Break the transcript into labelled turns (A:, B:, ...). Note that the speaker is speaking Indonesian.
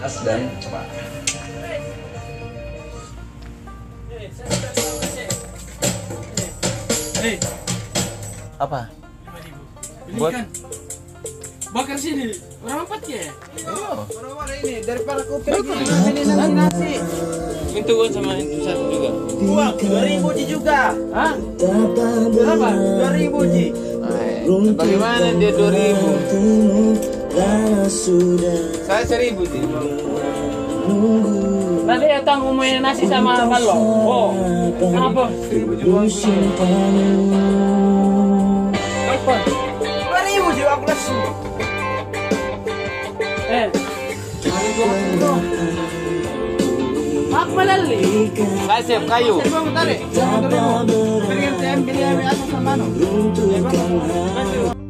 A: tas dan coba
B: Hei,
C: Apa?
B: lima ribu.
C: Buat-
B: Belikan. kan Bakar sini. Orang empat ya?
D: Oh. Orang-orang ini daripada kopi ini nasi nasi.
B: Itu kan sama itu satu juga.
D: Uang dua ribu ji juga.
B: Hah? Nah,
D: Berapa? Dua ribu ji.
B: eh, Bagaimana dia dua ribu? Saya seribu sih. Tadi datang main nasi sama balok. Oh, kenapa? Seribu juga. Apa?
D: Dua ribu ji aku lesu.
B: Eh. Apa lali? Saya siap kayu.
D: Saya mau tarik. Dua ribu. Pengen saya ambil ambil atas sama mana?